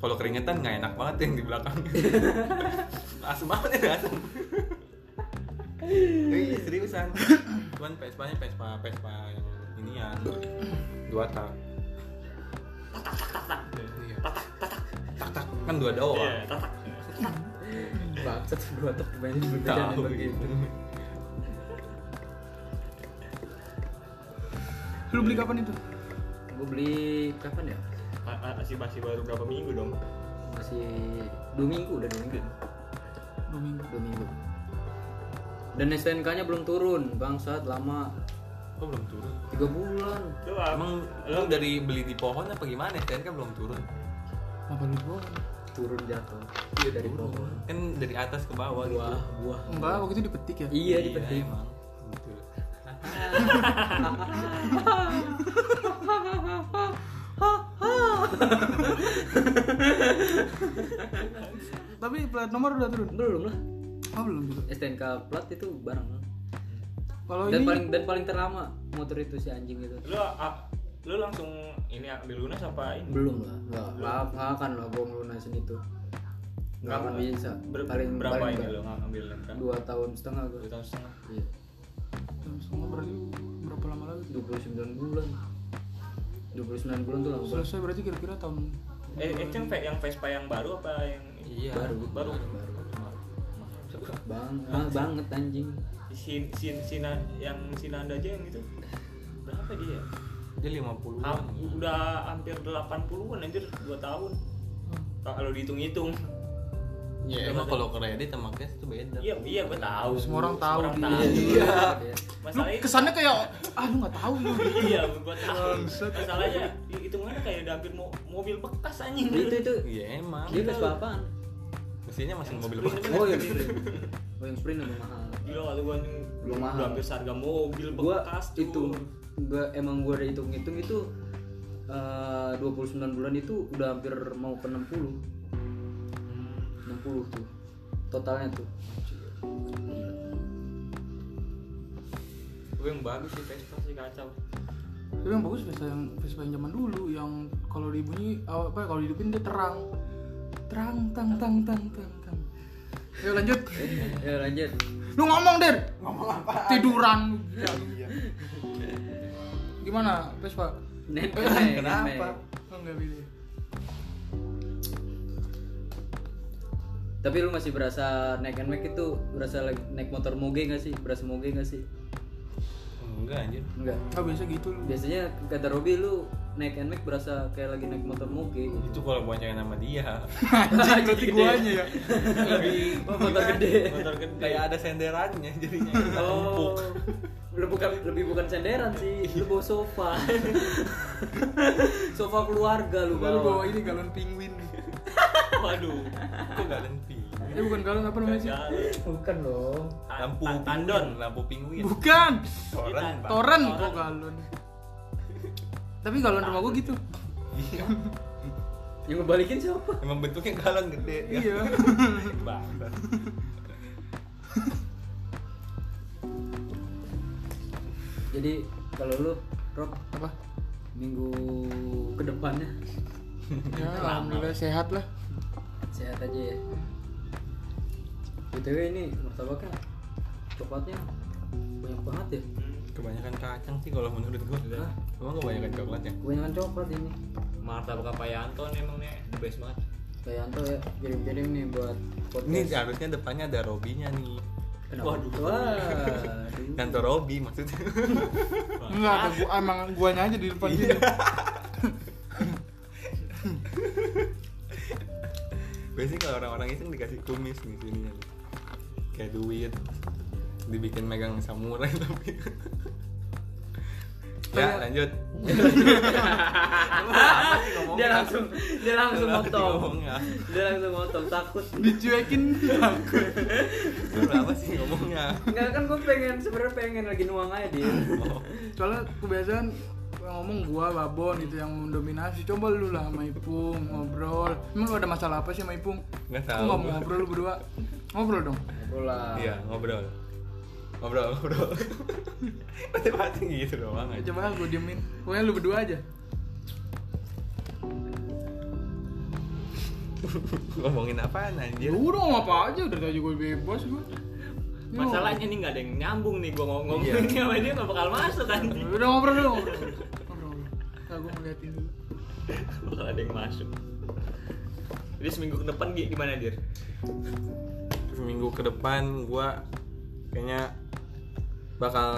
[SPEAKER 2] kalau keringetan nggak enak banget yang di belakang. asem banget ya asem. Iya seriusan. Cuman Vespa-nya Vespa Vespa yang ini ya dua tak. Iya. Tak tak kan dua
[SPEAKER 4] Iya,
[SPEAKER 2] doang.
[SPEAKER 4] tatak.
[SPEAKER 3] Bangsat dua tok main berbeda
[SPEAKER 2] Tahu
[SPEAKER 3] begitu.
[SPEAKER 2] gitu.
[SPEAKER 1] lu beli kapan itu
[SPEAKER 3] Gue beli kapan ya?
[SPEAKER 4] Ma- ma- Masih masih baru berapa minggu dong?
[SPEAKER 3] Masih dua minggu udah dua minggu.
[SPEAKER 1] dua minggu
[SPEAKER 3] Dua minggu. Dan STNK-nya belum turun, bangsat lama
[SPEAKER 2] Kok belum turun?
[SPEAKER 3] tiga bulan.
[SPEAKER 4] Lu apa?
[SPEAKER 2] Emang lu dari beli di pohon apa gimana? Kan belum turun.
[SPEAKER 1] apa lu bawa
[SPEAKER 3] Turun jatuh. Iya, dari pohon.
[SPEAKER 2] Kan dari atas ke bawah gitu.
[SPEAKER 3] Buah, buah.
[SPEAKER 1] enggak waktu itu dipetik ya
[SPEAKER 3] Iya dipetik.
[SPEAKER 2] emang. Betul.
[SPEAKER 1] tapi plat nomor udah turun
[SPEAKER 3] Belum lah.
[SPEAKER 1] oh belum juga
[SPEAKER 3] STNK plat itu barang.
[SPEAKER 1] kalau
[SPEAKER 3] Dan
[SPEAKER 1] ini
[SPEAKER 3] paling dan paling terlama motor itu si anjing itu.
[SPEAKER 4] Lu a- lu langsung ini ambil lunas apa ini?
[SPEAKER 3] Belum lah. Enggak, enggak enggak akan kan lah gua ngelunasin itu. Enggak akan bisa.
[SPEAKER 4] Ber-
[SPEAKER 3] paling
[SPEAKER 4] berapa
[SPEAKER 3] paling
[SPEAKER 4] ini
[SPEAKER 3] ber-
[SPEAKER 4] lu ngambil berapa?
[SPEAKER 3] Dua tahun setengah gua.
[SPEAKER 4] Dua tahun setengah.
[SPEAKER 3] Iya.
[SPEAKER 1] Jam setengah berarti berapa lama lagi
[SPEAKER 3] 29 bulan. 29 bulan tuh lama banget.
[SPEAKER 1] selesai berarti kira-kira tahun Hmm.
[SPEAKER 4] Eh, eh, yang, Ve- yang Vespa yang baru apa yang ini?
[SPEAKER 2] Iya.
[SPEAKER 3] Baru.
[SPEAKER 4] Baru.
[SPEAKER 3] Bang, ah, banget anjing.
[SPEAKER 4] Sin, sin, sina, yang Sinanda aja yang itu berapa dia? ya?
[SPEAKER 2] Dia 50 an
[SPEAKER 4] Ham- udah hampir 80-an anjir 2 tahun. Kalau dihitung-hitung.
[SPEAKER 2] Ya
[SPEAKER 3] Iya,
[SPEAKER 2] emang kalau kredit sama cash itu beda.
[SPEAKER 4] Iya, iya gua tahu.
[SPEAKER 1] Semua orang tahu
[SPEAKER 4] Semua orang
[SPEAKER 1] dia.
[SPEAKER 4] tahu.
[SPEAKER 3] Iya.
[SPEAKER 1] lu
[SPEAKER 4] Masalahnya
[SPEAKER 1] kesannya kayak ah lu nggak tahu lu
[SPEAKER 4] iya, gua tahu.
[SPEAKER 1] Bangsat.
[SPEAKER 4] Masalahnya hitungannya kayak udah hampir mo- mobil bekas anjing.
[SPEAKER 3] Itu itu.
[SPEAKER 2] Iya emang.
[SPEAKER 3] Dia Vespa apaan?
[SPEAKER 2] Mesinnya masih mobil
[SPEAKER 4] Sprint
[SPEAKER 2] bekas.
[SPEAKER 4] itu
[SPEAKER 3] Oh, yang
[SPEAKER 4] kan.
[SPEAKER 3] sprint. Oh, yang sprint lebih mahal.
[SPEAKER 4] Gila kali gua anjing.
[SPEAKER 3] Belum mahal.
[SPEAKER 4] Udah hampir seharga mobil
[SPEAKER 3] gua
[SPEAKER 4] bekas cuy.
[SPEAKER 3] itu gua emang gua udah hitung-hitung itu eh, 29 bulan itu udah hampir mau ke 60 60 tuh totalnya tuh
[SPEAKER 4] Gua yang bagus sih Vespa sih kacau.
[SPEAKER 1] tapi yang bagus Vespa yang Vespa yang zaman dulu yang kalau dibunyi aw- apa kalau dihidupin dia terang terang tang tang tang tang tang ayo lanjut
[SPEAKER 3] ya lanjut
[SPEAKER 1] lu ngomong deh ngomong apa tiduran gimana Vespa
[SPEAKER 3] Nen-
[SPEAKER 1] Eh,
[SPEAKER 3] nen-
[SPEAKER 1] kenapa
[SPEAKER 3] nen-
[SPEAKER 1] oh, nggak bisa
[SPEAKER 3] tapi lu masih berasa naik and mac itu berasa lagi naik motor moge gak sih berasa moge gak sih
[SPEAKER 2] Enggak anjir.
[SPEAKER 3] enggak
[SPEAKER 1] nggak bisa gitu lu
[SPEAKER 3] biasanya kata Robi lu naik and mac berasa kayak lagi naik motor moge gitu
[SPEAKER 2] Itu kalau boncengan sama dia.
[SPEAKER 1] anjing berarti
[SPEAKER 3] Gede.
[SPEAKER 1] guanya ya
[SPEAKER 2] Lebih
[SPEAKER 3] Oh, motor gede
[SPEAKER 4] Motor gede.
[SPEAKER 2] Iya. kayak ada senderannya jadinya.
[SPEAKER 3] Oh, lu bukan lebih bukan senderan sih, lu bawa sofa. sofa keluarga lu
[SPEAKER 1] lu baru bawa
[SPEAKER 3] bawa.
[SPEAKER 1] ini galon penguin
[SPEAKER 4] Waduh.
[SPEAKER 2] Itu enggak lenti.
[SPEAKER 1] eh bukan galon apa namanya sih
[SPEAKER 4] Jalan.
[SPEAKER 3] Bukan loh.
[SPEAKER 2] Lampu
[SPEAKER 4] Tan-
[SPEAKER 2] tandon,
[SPEAKER 4] tandon.
[SPEAKER 2] lampu pinguin.
[SPEAKER 1] bukan
[SPEAKER 2] Toren, Pak.
[SPEAKER 1] toren kok galon tapi galon rumah gua gitu
[SPEAKER 2] Iya.
[SPEAKER 3] Yang ngebalikin siapa?
[SPEAKER 2] Emang bentuknya galon gede. ya.
[SPEAKER 1] iya
[SPEAKER 2] Bangsat.
[SPEAKER 3] Jadi kalau lu Rob
[SPEAKER 1] apa
[SPEAKER 3] minggu kedepannya
[SPEAKER 1] ya alhamdulillah sehat lah
[SPEAKER 3] sehat aja ya btw ini martabaknya coklatnya banyak banget ya
[SPEAKER 2] Kebanyakan kacang sih kalau menurut gua.
[SPEAKER 3] Hah?
[SPEAKER 2] Emang kebanyakan coklat ya?
[SPEAKER 3] kebanyakan coklat ini
[SPEAKER 5] Martabak apa Yanto nih emang
[SPEAKER 4] ya.
[SPEAKER 5] nih the best banget.
[SPEAKER 3] kayak Anto ya kirim-kirim nih buat
[SPEAKER 2] Ini ya?
[SPEAKER 3] podcast
[SPEAKER 2] harusnya depannya ada Robinya nih.
[SPEAKER 3] Kenapa?
[SPEAKER 5] Waduh.
[SPEAKER 3] Waduh.
[SPEAKER 2] Kantor Robi maksudnya.
[SPEAKER 1] enggak ada gua emang guanya aja di depan sini
[SPEAKER 2] Biasanya kalau orang-orang iseng dikasih kumis nih sininya. nih. Kayak duit dibikin megang samurai tapi ya
[SPEAKER 1] Kayak-
[SPEAKER 2] lanjut
[SPEAKER 3] dia langsung dia langsung
[SPEAKER 2] Kenapa
[SPEAKER 3] motong
[SPEAKER 2] ngomongnya?
[SPEAKER 3] dia langsung motong takut
[SPEAKER 1] dicuekin
[SPEAKER 2] Lu apa sih ngomongnya
[SPEAKER 3] Enggak kan gue pengen sebenarnya pengen lagi nuang aja dia
[SPEAKER 1] soalnya kebiasaan yang ngomong gua babon gitu yang mendominasi coba lu lah sama Ipung ngobrol emang lu ada masalah apa sih sama Ipung
[SPEAKER 2] nggak
[SPEAKER 1] Kok
[SPEAKER 2] tahu
[SPEAKER 1] nggak mau ngobrol lu berdua ngobrol dong
[SPEAKER 3] ngobrol lah
[SPEAKER 2] iya ngobrol ngobrol ngobrol pasti pasti gitu doang aja
[SPEAKER 1] coba gua diemin pokoknya lu berdua aja
[SPEAKER 2] ngomongin apaan anjir
[SPEAKER 1] Lu dong apa aja Ya udah tadi gue bebas gue
[SPEAKER 5] Masalahnya nih nggak ada yang nyambung nih gua ngomong
[SPEAKER 4] Iya.
[SPEAKER 5] ngomongin sama dia nggak bakal masuk kan.
[SPEAKER 1] Ya
[SPEAKER 4] Hmm.
[SPEAKER 1] udah ngobrol dulu ngobrol ngobrol nah, gue ngeliatin dulu
[SPEAKER 5] bakal ada yang masuk. Jadi seminggu ke depan Gi, gimana dir?
[SPEAKER 2] minggu ke depan gua kayaknya bakal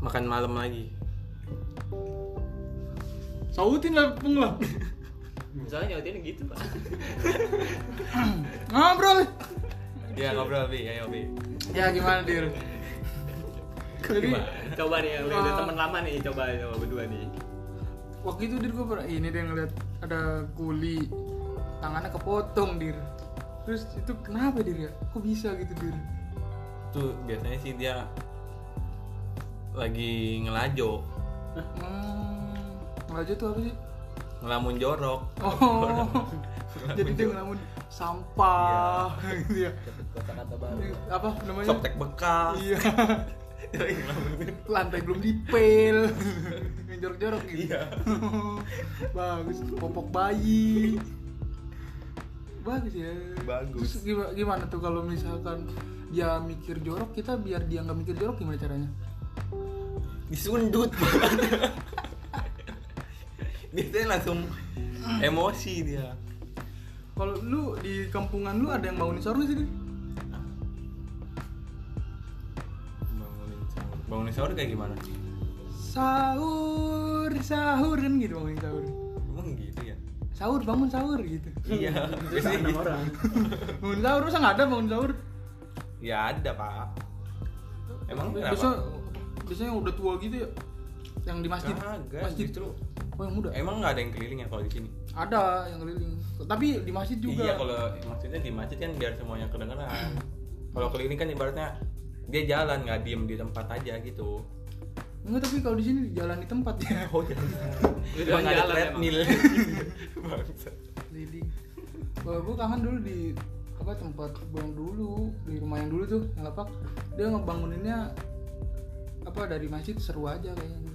[SPEAKER 2] makan malam lagi
[SPEAKER 1] sautin lah pung lah
[SPEAKER 4] Hmm.
[SPEAKER 5] Misalnya nyautin gitu pak.
[SPEAKER 1] ngobrol
[SPEAKER 2] ya ngobrol bi ayo bi
[SPEAKER 1] ya gimana dir jadi
[SPEAKER 5] Coba nih, udah, udah teman lama nih, coba coba berdua nih.
[SPEAKER 1] waktu itu dir gue pernah ini dia ngeliat ada kuli tangannya kepotong dir terus itu kenapa dir ya kok bisa gitu dir
[SPEAKER 2] tuh biasanya sih dia lagi ngelajo
[SPEAKER 1] hmm, aja tuh apa sih
[SPEAKER 2] ngelamun jorok
[SPEAKER 1] oh jadi dia ngelamun sampah
[SPEAKER 2] Iya.
[SPEAKER 1] gitu ya
[SPEAKER 3] kata-kata baru
[SPEAKER 1] apa namanya
[SPEAKER 2] Soptek bekas
[SPEAKER 1] iya
[SPEAKER 2] Dia lagi ngelamunin.
[SPEAKER 1] lantai belum dipel jorok-jorok gitu
[SPEAKER 2] Iya.
[SPEAKER 1] bagus popok bayi bagus ya
[SPEAKER 2] Bagus.
[SPEAKER 1] Terus gima- gimana, tuh kalau misalkan dia mikir jorok kita biar dia nggak mikir jorok gimana caranya
[SPEAKER 2] disundut biasanya langsung emosi dia
[SPEAKER 1] kalau lu di kampungan lu ada yang bangunin sahur nggak sih Din?
[SPEAKER 2] bangunin sahur bangunin sahur kayak gimana
[SPEAKER 1] sahur sahur kan gitu bangunin sahur
[SPEAKER 2] emang gitu ya
[SPEAKER 1] sahur bangun sahur gitu
[SPEAKER 2] iya biasanya gitu.
[SPEAKER 3] orang
[SPEAKER 1] bangun sahur masa nggak ada bangun sahur
[SPEAKER 2] ya ada pak emang
[SPEAKER 1] biasa
[SPEAKER 2] kenapa
[SPEAKER 1] biasanya yang udah tua gitu ya yang di masjid
[SPEAKER 2] Kagak,
[SPEAKER 1] masjid
[SPEAKER 2] justru
[SPEAKER 1] oh yang muda
[SPEAKER 2] emang nggak ada yang keliling ya kalau di sini
[SPEAKER 1] ada yang keliling tapi di masjid juga
[SPEAKER 2] iya kalau maksudnya di masjid kan biar semuanya kedengeran kalau keliling kan ibaratnya dia jalan nggak diem di tempat aja gitu
[SPEAKER 1] enggak tapi kalau di sini di jalan di tempat ya
[SPEAKER 2] oh jalan
[SPEAKER 5] Itu
[SPEAKER 2] emang ada
[SPEAKER 5] jalan
[SPEAKER 2] treadmill Bangsat.
[SPEAKER 1] keliling kalau gue kangen dulu di apa tempat bang dulu di rumah yang dulu tuh yang lapak dia ngebanguninnya apa dari masjid seru aja kayaknya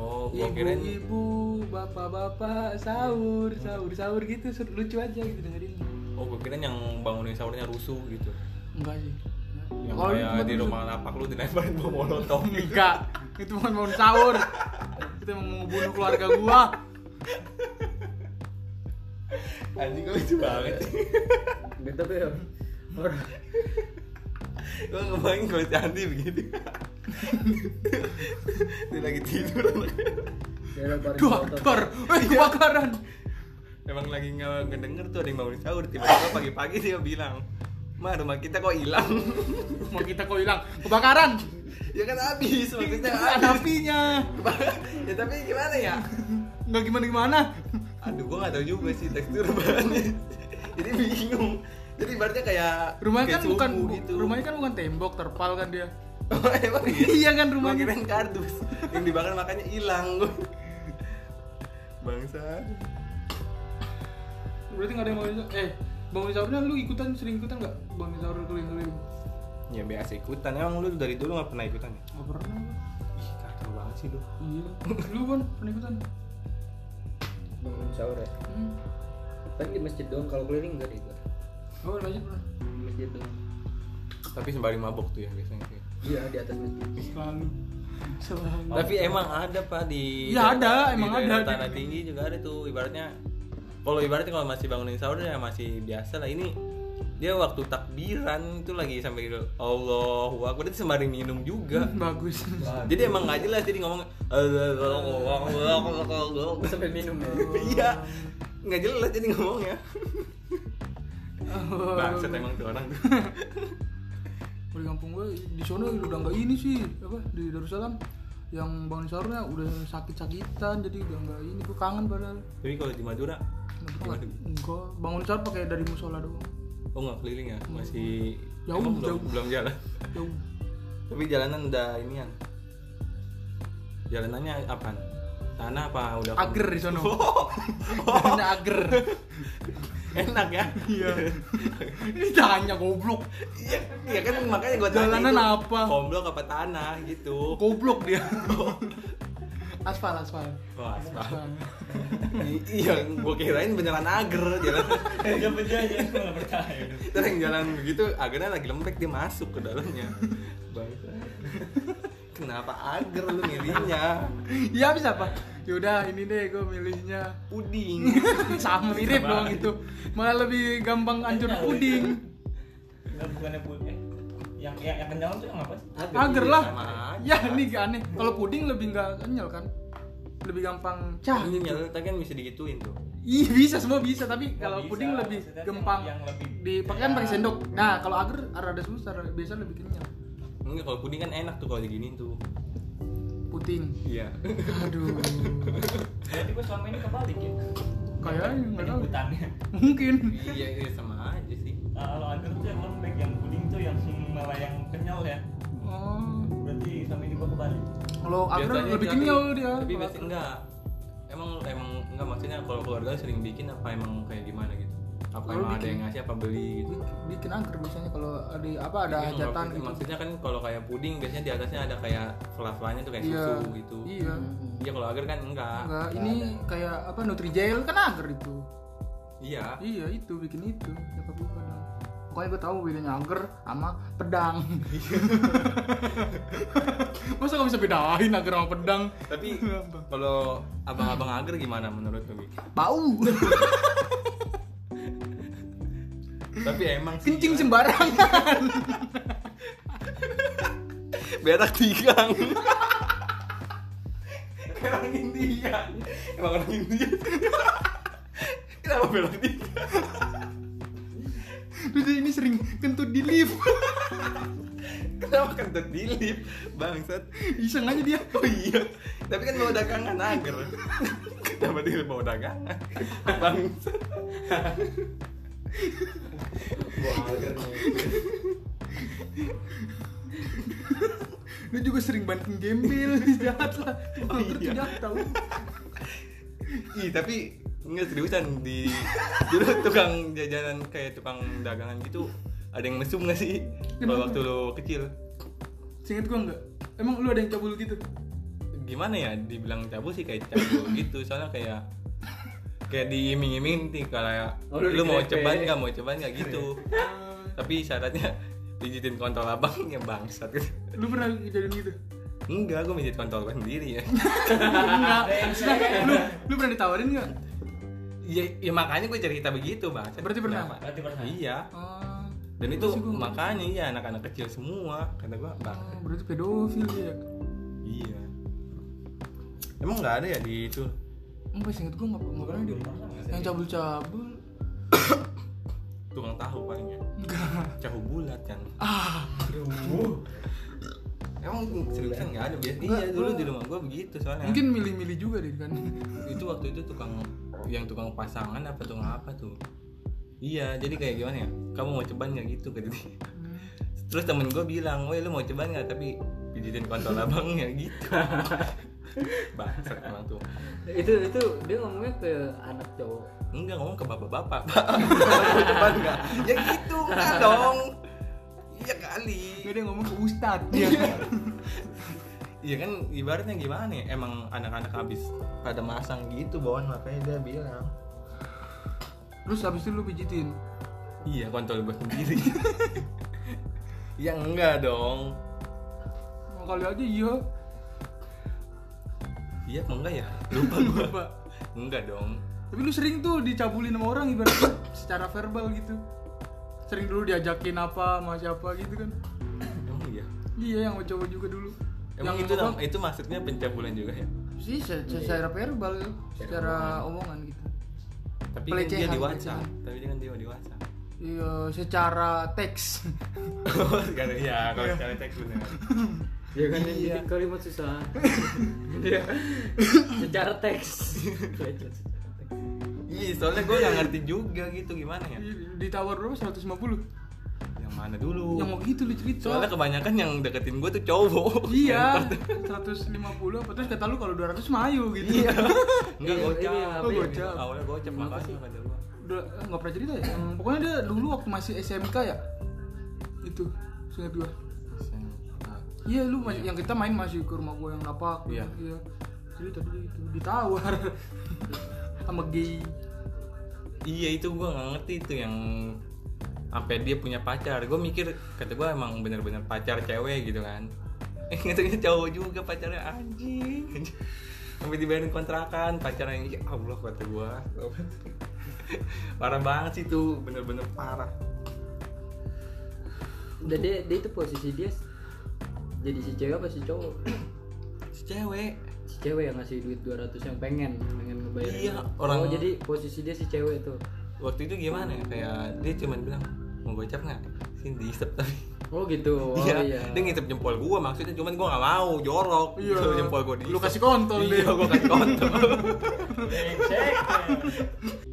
[SPEAKER 2] oh
[SPEAKER 1] Iya,
[SPEAKER 2] gua kirain
[SPEAKER 1] ibu-ibu bapak-bapak sahur sahur sahur gitu seru- lucu aja gitu dengerin
[SPEAKER 2] Oh gue kira yang bangunin sahurnya rusuh gitu
[SPEAKER 1] enggak sih
[SPEAKER 2] Yang
[SPEAKER 1] Kalau
[SPEAKER 2] kayak
[SPEAKER 1] tempat
[SPEAKER 2] di
[SPEAKER 1] rusuh.
[SPEAKER 2] rumah lapak lu dilemparin bom molotov
[SPEAKER 1] enggak itu bukan bangun sahur itu emang mau bunuh keluarga gua
[SPEAKER 2] Anjing gue lucu banget
[SPEAKER 3] gitu tapi ya orang
[SPEAKER 2] Gue ngebayangin kalau si Andi begini Dia lagi tidur anaknya.
[SPEAKER 3] daerah baru
[SPEAKER 1] bakar eh kebakaran
[SPEAKER 2] Emang lagi nggak ngedenger tuh ada yang bangunin sahur Tiba-tiba pagi-pagi dia bilang Ma rumah kita kok hilang
[SPEAKER 1] mau kita kok hilang kebakaran
[SPEAKER 2] Ya kan habis maksudnya
[SPEAKER 1] ada
[SPEAKER 2] habis
[SPEAKER 1] apinya
[SPEAKER 2] Ya tapi gimana ya
[SPEAKER 1] nggak gimana gimana
[SPEAKER 2] Aduh gue nggak tahu juga sih tekstur bahannya Jadi bingung Jadi ibaratnya kayak
[SPEAKER 1] rumahnya kan
[SPEAKER 2] kayak
[SPEAKER 1] bukan
[SPEAKER 2] suhu gitu.
[SPEAKER 1] bu- rumahnya kan bukan tembok terpal kan dia
[SPEAKER 2] Emang iya?
[SPEAKER 1] iya kan
[SPEAKER 2] Gua
[SPEAKER 1] rumahnya
[SPEAKER 2] kirain kardus yang dibakar makanya hilang gua. bangsa
[SPEAKER 1] berarti nggak ada yang bangun sahur eh bangun sahurnya lu ikutan sering ikutan nggak bangun sahur keliling keliling
[SPEAKER 2] ya biasa ikutan emang lu dari dulu nggak pernah ikutan ya
[SPEAKER 1] nggak pernah
[SPEAKER 2] ih kacau banget sih lu
[SPEAKER 1] iya lu kan pernah ikutan
[SPEAKER 3] bangun sahur ya
[SPEAKER 1] Hmm.
[SPEAKER 3] paling di masjid doang kalau keliling enggak deh gua
[SPEAKER 1] Oh, lanjut bro.
[SPEAKER 3] di masjid doang
[SPEAKER 2] Tapi sembari mabok tuh ya biasanya. sih.
[SPEAKER 3] iya di atas masjid
[SPEAKER 1] Selalu. Selalu.
[SPEAKER 2] Tapi emang ada pak di.
[SPEAKER 1] Iya, ada,
[SPEAKER 2] di
[SPEAKER 1] emang
[SPEAKER 2] daerah
[SPEAKER 1] ada.
[SPEAKER 2] Tanah tinggi juga ada tuh. Ibaratnya kalau ibaratnya kalau masih bangunin sahur ya masih biasa lah. Ini dia waktu takbiran itu lagi sampai Allah Akbar itu sembari minum juga.
[SPEAKER 1] Bagus.
[SPEAKER 2] Jadi emang nggak jelas jadi ngomong Allahu Akbar.
[SPEAKER 3] sampai minum ya
[SPEAKER 2] Iya. Nggak jelas jadi ngomongnya. Bangsat emang tuh orang.
[SPEAKER 1] Kalau di kampung gue di sono udah nggak ini sih apa di Darussalam yang bangun sahurnya udah sakit-sakitan jadi udah nggak ini gue kangen padahal
[SPEAKER 2] Tapi kalau di Madura
[SPEAKER 1] Nah,
[SPEAKER 2] Gimana?
[SPEAKER 1] enggak bangun sahur pakai dari musola doang
[SPEAKER 2] Oh nggak keliling ya? Masih
[SPEAKER 1] Jauh,
[SPEAKER 2] emang
[SPEAKER 1] jauh.
[SPEAKER 2] belum, belum jalan.
[SPEAKER 1] jauh
[SPEAKER 2] Tapi jalanan udah inian. Jalanannya apa? Tanah apa udah
[SPEAKER 1] ager di sono
[SPEAKER 2] Oh,
[SPEAKER 1] Jalannya ager
[SPEAKER 2] enak ya? Iya.
[SPEAKER 1] tanya goblok
[SPEAKER 2] Iya iya kan makanya gua tanya
[SPEAKER 1] Jalanan
[SPEAKER 2] itu,
[SPEAKER 1] apa?
[SPEAKER 2] Komblok apa tanah gitu.
[SPEAKER 1] goblok dia aspal aspal
[SPEAKER 2] Oh, aspal.
[SPEAKER 1] aspal
[SPEAKER 2] I- iya, gua kirain beneran ager jalan.
[SPEAKER 4] Gak percaya, aku gak percaya.
[SPEAKER 2] Terus yang jalan begitu agernya lagi lembek dia masuk ke dalamnya. Bangsa. Kenapa ager lu milihnya?
[SPEAKER 1] iya bisa apa yaudah ini deh gue milihnya
[SPEAKER 2] Puding.
[SPEAKER 1] sama mirip doang itu malah lebih gampang hancur
[SPEAKER 2] Iya,
[SPEAKER 1] puding
[SPEAKER 4] Enggak bukannya pun eh yang yang, yang kenyal tuh yang apa sih?
[SPEAKER 1] agar lah
[SPEAKER 2] Sama aja.
[SPEAKER 1] ya ini gak aneh kalau puding lebih nggak kenyal kan lebih gampang cah
[SPEAKER 2] Ini nyala tadi kan bisa digituin tuh.
[SPEAKER 1] Ih bisa semua bisa tapi
[SPEAKER 4] Nggak
[SPEAKER 1] kalau
[SPEAKER 4] bisa,
[SPEAKER 1] puding lebih
[SPEAKER 4] maksudnya
[SPEAKER 1] gampang
[SPEAKER 4] yang- yang lebih-
[SPEAKER 1] dipakai kan
[SPEAKER 4] ya.
[SPEAKER 1] pakai sendok. Nah, kalau agar rada susah, rada- biasa lebih kenyal.
[SPEAKER 2] Enggak kalau puding kan enak tuh kalau diginiin tuh.
[SPEAKER 1] Puting.
[SPEAKER 2] Iya.
[SPEAKER 1] Aduh.
[SPEAKER 4] Berarti gue selama ini kebalik ya.
[SPEAKER 1] Kayaknya enggak tahu.
[SPEAKER 4] Penyebutannya.
[SPEAKER 1] Mungkin.
[SPEAKER 2] iya, iya sama aja sih.
[SPEAKER 4] Nah, Kalau agar tuh yang lembek, yang kuning tuh yang malah yang kenyal ya.
[SPEAKER 1] Oh.
[SPEAKER 4] Berarti selama ini gue kebalik.
[SPEAKER 1] Kalau agar
[SPEAKER 2] Biasanya
[SPEAKER 1] Oh, lebih
[SPEAKER 2] tapi-
[SPEAKER 1] kenyal dia.
[SPEAKER 2] Tapi biasanya enggak. Emang emang enggak maksudnya kalau keluarga sering bikin apa emang kayak gimana gitu. Apa emang
[SPEAKER 1] Kalau
[SPEAKER 2] ada
[SPEAKER 1] bikin.
[SPEAKER 2] yang ngasih apa beli gitu.
[SPEAKER 1] bikin agar biasanya kalau ada apa ada
[SPEAKER 2] Bikin
[SPEAKER 1] hajatan
[SPEAKER 2] kalau-
[SPEAKER 1] gitu.
[SPEAKER 2] Maksudnya kan kalau kayak puding biasanya di atasnya ada kayak fla-flanya tuh kayak
[SPEAKER 1] Iya.
[SPEAKER 2] susu gitu.
[SPEAKER 1] Iya.
[SPEAKER 2] Iya kalau agar kan enggak.
[SPEAKER 1] Enggak, ini kayak apa Nutrijel kan agar itu.
[SPEAKER 2] Iya.
[SPEAKER 1] Iya, itu bikin itu. Siapa bukan. dong. Pokoknya gue tahu bedanya agar sama pedang. Masa gak bisa bedain agar sama pedang?
[SPEAKER 2] Tapi kalau abang-abang agar gimana menurut lu? Bi?
[SPEAKER 1] Bau.
[SPEAKER 2] Tapi emang sih
[SPEAKER 1] Kencing
[SPEAKER 2] gila.
[SPEAKER 1] sembarangan.
[SPEAKER 2] berak tigang orang India emang orang India kenapa berak tigang
[SPEAKER 1] Terus dia ini sering kentut di lift.
[SPEAKER 2] kenapa kentut di lip bangsat
[SPEAKER 1] Iseng aja dia.
[SPEAKER 2] oh iya tapi kan bawa dagangan agar kenapa dia bawa dagangan bangsat bawa agar
[SPEAKER 1] Dia juga sering banting gembel. jahat lah.
[SPEAKER 2] Oh,
[SPEAKER 1] Kentut tuh
[SPEAKER 2] iya.
[SPEAKER 1] jahat tau.
[SPEAKER 2] Ih, tapi enggak seriusan di dulu tukang jajanan kayak tukang dagangan gitu ada yang mesum gak sih kalau
[SPEAKER 1] Kenapa?
[SPEAKER 2] waktu lo kecil
[SPEAKER 1] Seinget gue enggak? Emang lu ada yang cabul gitu?
[SPEAKER 2] gimana ya dibilang cabul sih kayak cabul gitu soalnya kayak kayak diiming-iming nih gitu ya, kayak
[SPEAKER 3] Oh,
[SPEAKER 2] lu,
[SPEAKER 3] lu
[SPEAKER 2] mau
[SPEAKER 3] dikrepe.
[SPEAKER 2] ceban nggak mau ceban nggak gitu
[SPEAKER 1] Eh.
[SPEAKER 2] tapi syaratnya pijitin kontol abangnya bangsat
[SPEAKER 1] Lu pernah kejadian gitu?
[SPEAKER 2] enggak gue mijit kontol gue sendiri ya
[SPEAKER 1] Enggak. Sudah, lu, lu pernah ditawarin enggak?
[SPEAKER 2] ya, ya makanya gue cerita begitu bangsat
[SPEAKER 1] Berarti pernah?
[SPEAKER 2] Kenapa?
[SPEAKER 4] Berarti pernah.
[SPEAKER 2] iya
[SPEAKER 1] Oh,
[SPEAKER 2] dan itu makanya iya anak-anak kecil semua kata gue bangsat
[SPEAKER 1] oh, berarti pedofil ya.
[SPEAKER 2] iya emang nggak ada ya di itu
[SPEAKER 1] Enggak seinget gue enggak enggak pernah dia. Yang cabul-cabul
[SPEAKER 2] tukang tahu ya? palingnya
[SPEAKER 1] enggak.
[SPEAKER 2] tahu bulat kan
[SPEAKER 1] Ah,
[SPEAKER 2] Emang seriusan nggak ada biasa?
[SPEAKER 1] Nggak,
[SPEAKER 2] Iya dulu
[SPEAKER 1] gua-
[SPEAKER 2] di rumah gua begitu soalnya.
[SPEAKER 1] mungkin milih-milih juga deh kan.
[SPEAKER 2] itu waktu itu tukang yang tukang pasangan apa tukang apa tuh? Iya jadi kayak gimana ya? Kamu mau ceban nggak gitu kata
[SPEAKER 1] Hmm.
[SPEAKER 2] dia. Terus temen gua bilang, woi lu mau ceban nggak? Tapi pijitin kontol abangnya gitu. Bangsat emang tuh.
[SPEAKER 3] itu itu dia ngomongnya ke anak cowok
[SPEAKER 2] Enggak ngomong ke bapak-bapak. Pak, mau ceban nggak? Ya gitu kan dong. Iya kali.
[SPEAKER 1] Enggak dia ngomong ke ustad. Iya.
[SPEAKER 2] Iya kan ibaratnya gimana ya? Emang anak-anak habis pada masang gitu bawaan makanya dia bilang.
[SPEAKER 1] terus habis itu lu pijitin
[SPEAKER 2] Iya kontol gue sendiri. ya enggak dong.
[SPEAKER 1] mau kali aja iya
[SPEAKER 2] Iya apa enggak ya? Lupa gue pak. Enggak dong.
[SPEAKER 1] tapi lu sering tuh dicabulin sama orang ibaratnya secara verbal gitu sering dulu diajakin apa sama siapa gitu kan
[SPEAKER 2] Emang iya.
[SPEAKER 1] iya yang mau coba juga dulu
[SPEAKER 2] Emang gitu
[SPEAKER 1] yang
[SPEAKER 2] itu
[SPEAKER 1] apa,
[SPEAKER 2] nam- itu maksudnya pencabulan juga ya?
[SPEAKER 1] sih se- secara verbal ya. secara omongan gitu
[SPEAKER 2] Tapi kan dia
[SPEAKER 1] Pelecehan,
[SPEAKER 2] di WhatsApp.
[SPEAKER 1] pelecehan.
[SPEAKER 2] Tapi dia kan dia di WhatsApp.
[SPEAKER 1] iya secara teks
[SPEAKER 2] Karena ya kalau secara teks bener.
[SPEAKER 3] Ya kan yang
[SPEAKER 1] Iya.
[SPEAKER 3] bikin kalimat susah. Secara teks.
[SPEAKER 2] Iya, soalnya gue gak ngerti juga gitu gimana ya.
[SPEAKER 1] ditawar berapa 150
[SPEAKER 2] Yang mana dulu?
[SPEAKER 1] yang mau gitu lu cerita
[SPEAKER 2] Soalnya kebanyakan yang deketin gue tuh cowok.
[SPEAKER 1] iya 150 apa terus kata lu kalau 200 mayu gitu iya
[SPEAKER 2] Enggak
[SPEAKER 3] Iya,
[SPEAKER 2] gocap.
[SPEAKER 3] iya,
[SPEAKER 1] apa ya?
[SPEAKER 2] gocap. Awalnya gocap
[SPEAKER 3] Kenapa
[SPEAKER 2] makanya
[SPEAKER 3] sih?
[SPEAKER 2] kata gua.
[SPEAKER 1] udah eh, nggak pernah cerita ya Yang- pokoknya dia dulu waktu masih SMK ya itu seingat gua iya lu masih- yang kita main masih ke rumah gua yang napak
[SPEAKER 2] Iya.
[SPEAKER 1] iya cerita dulu itu ditawar sama gay
[SPEAKER 2] Iya itu gua nggak ngerti itu yang sampai dia punya pacar. Gue mikir kata gua emang bener-bener pacar cewek gitu kan. Eh ternyata cowok juga pacarnya anjing. Sampai dibayarin kontrakan pacarnya ya Allah kata gua. parah banget sih tuh bener-bener parah.
[SPEAKER 3] Udah dia, dia itu posisi dia s- jadi si cewek apa si cowok?
[SPEAKER 2] Si cewek.
[SPEAKER 3] Si cewek yang ngasih duit 200 yang pengen pengen ngebayar.
[SPEAKER 2] Iya, orang-
[SPEAKER 3] Oh, jadi posisi dia si cewek tuh.
[SPEAKER 2] Waktu itu gimana ya? Kayak dia cuman bilang mau gocap nggak? Sini diisep tapi
[SPEAKER 3] Oh gitu. Oh
[SPEAKER 2] iya,
[SPEAKER 3] iya.
[SPEAKER 2] dia ngintip jempol gua maksudnya cuman gua gak mau jorok
[SPEAKER 1] Iya.
[SPEAKER 2] Kalau jempol gua di
[SPEAKER 1] Lu kasih kontol
[SPEAKER 2] iya
[SPEAKER 1] deh.
[SPEAKER 2] gua kasih kontol
[SPEAKER 4] Cek.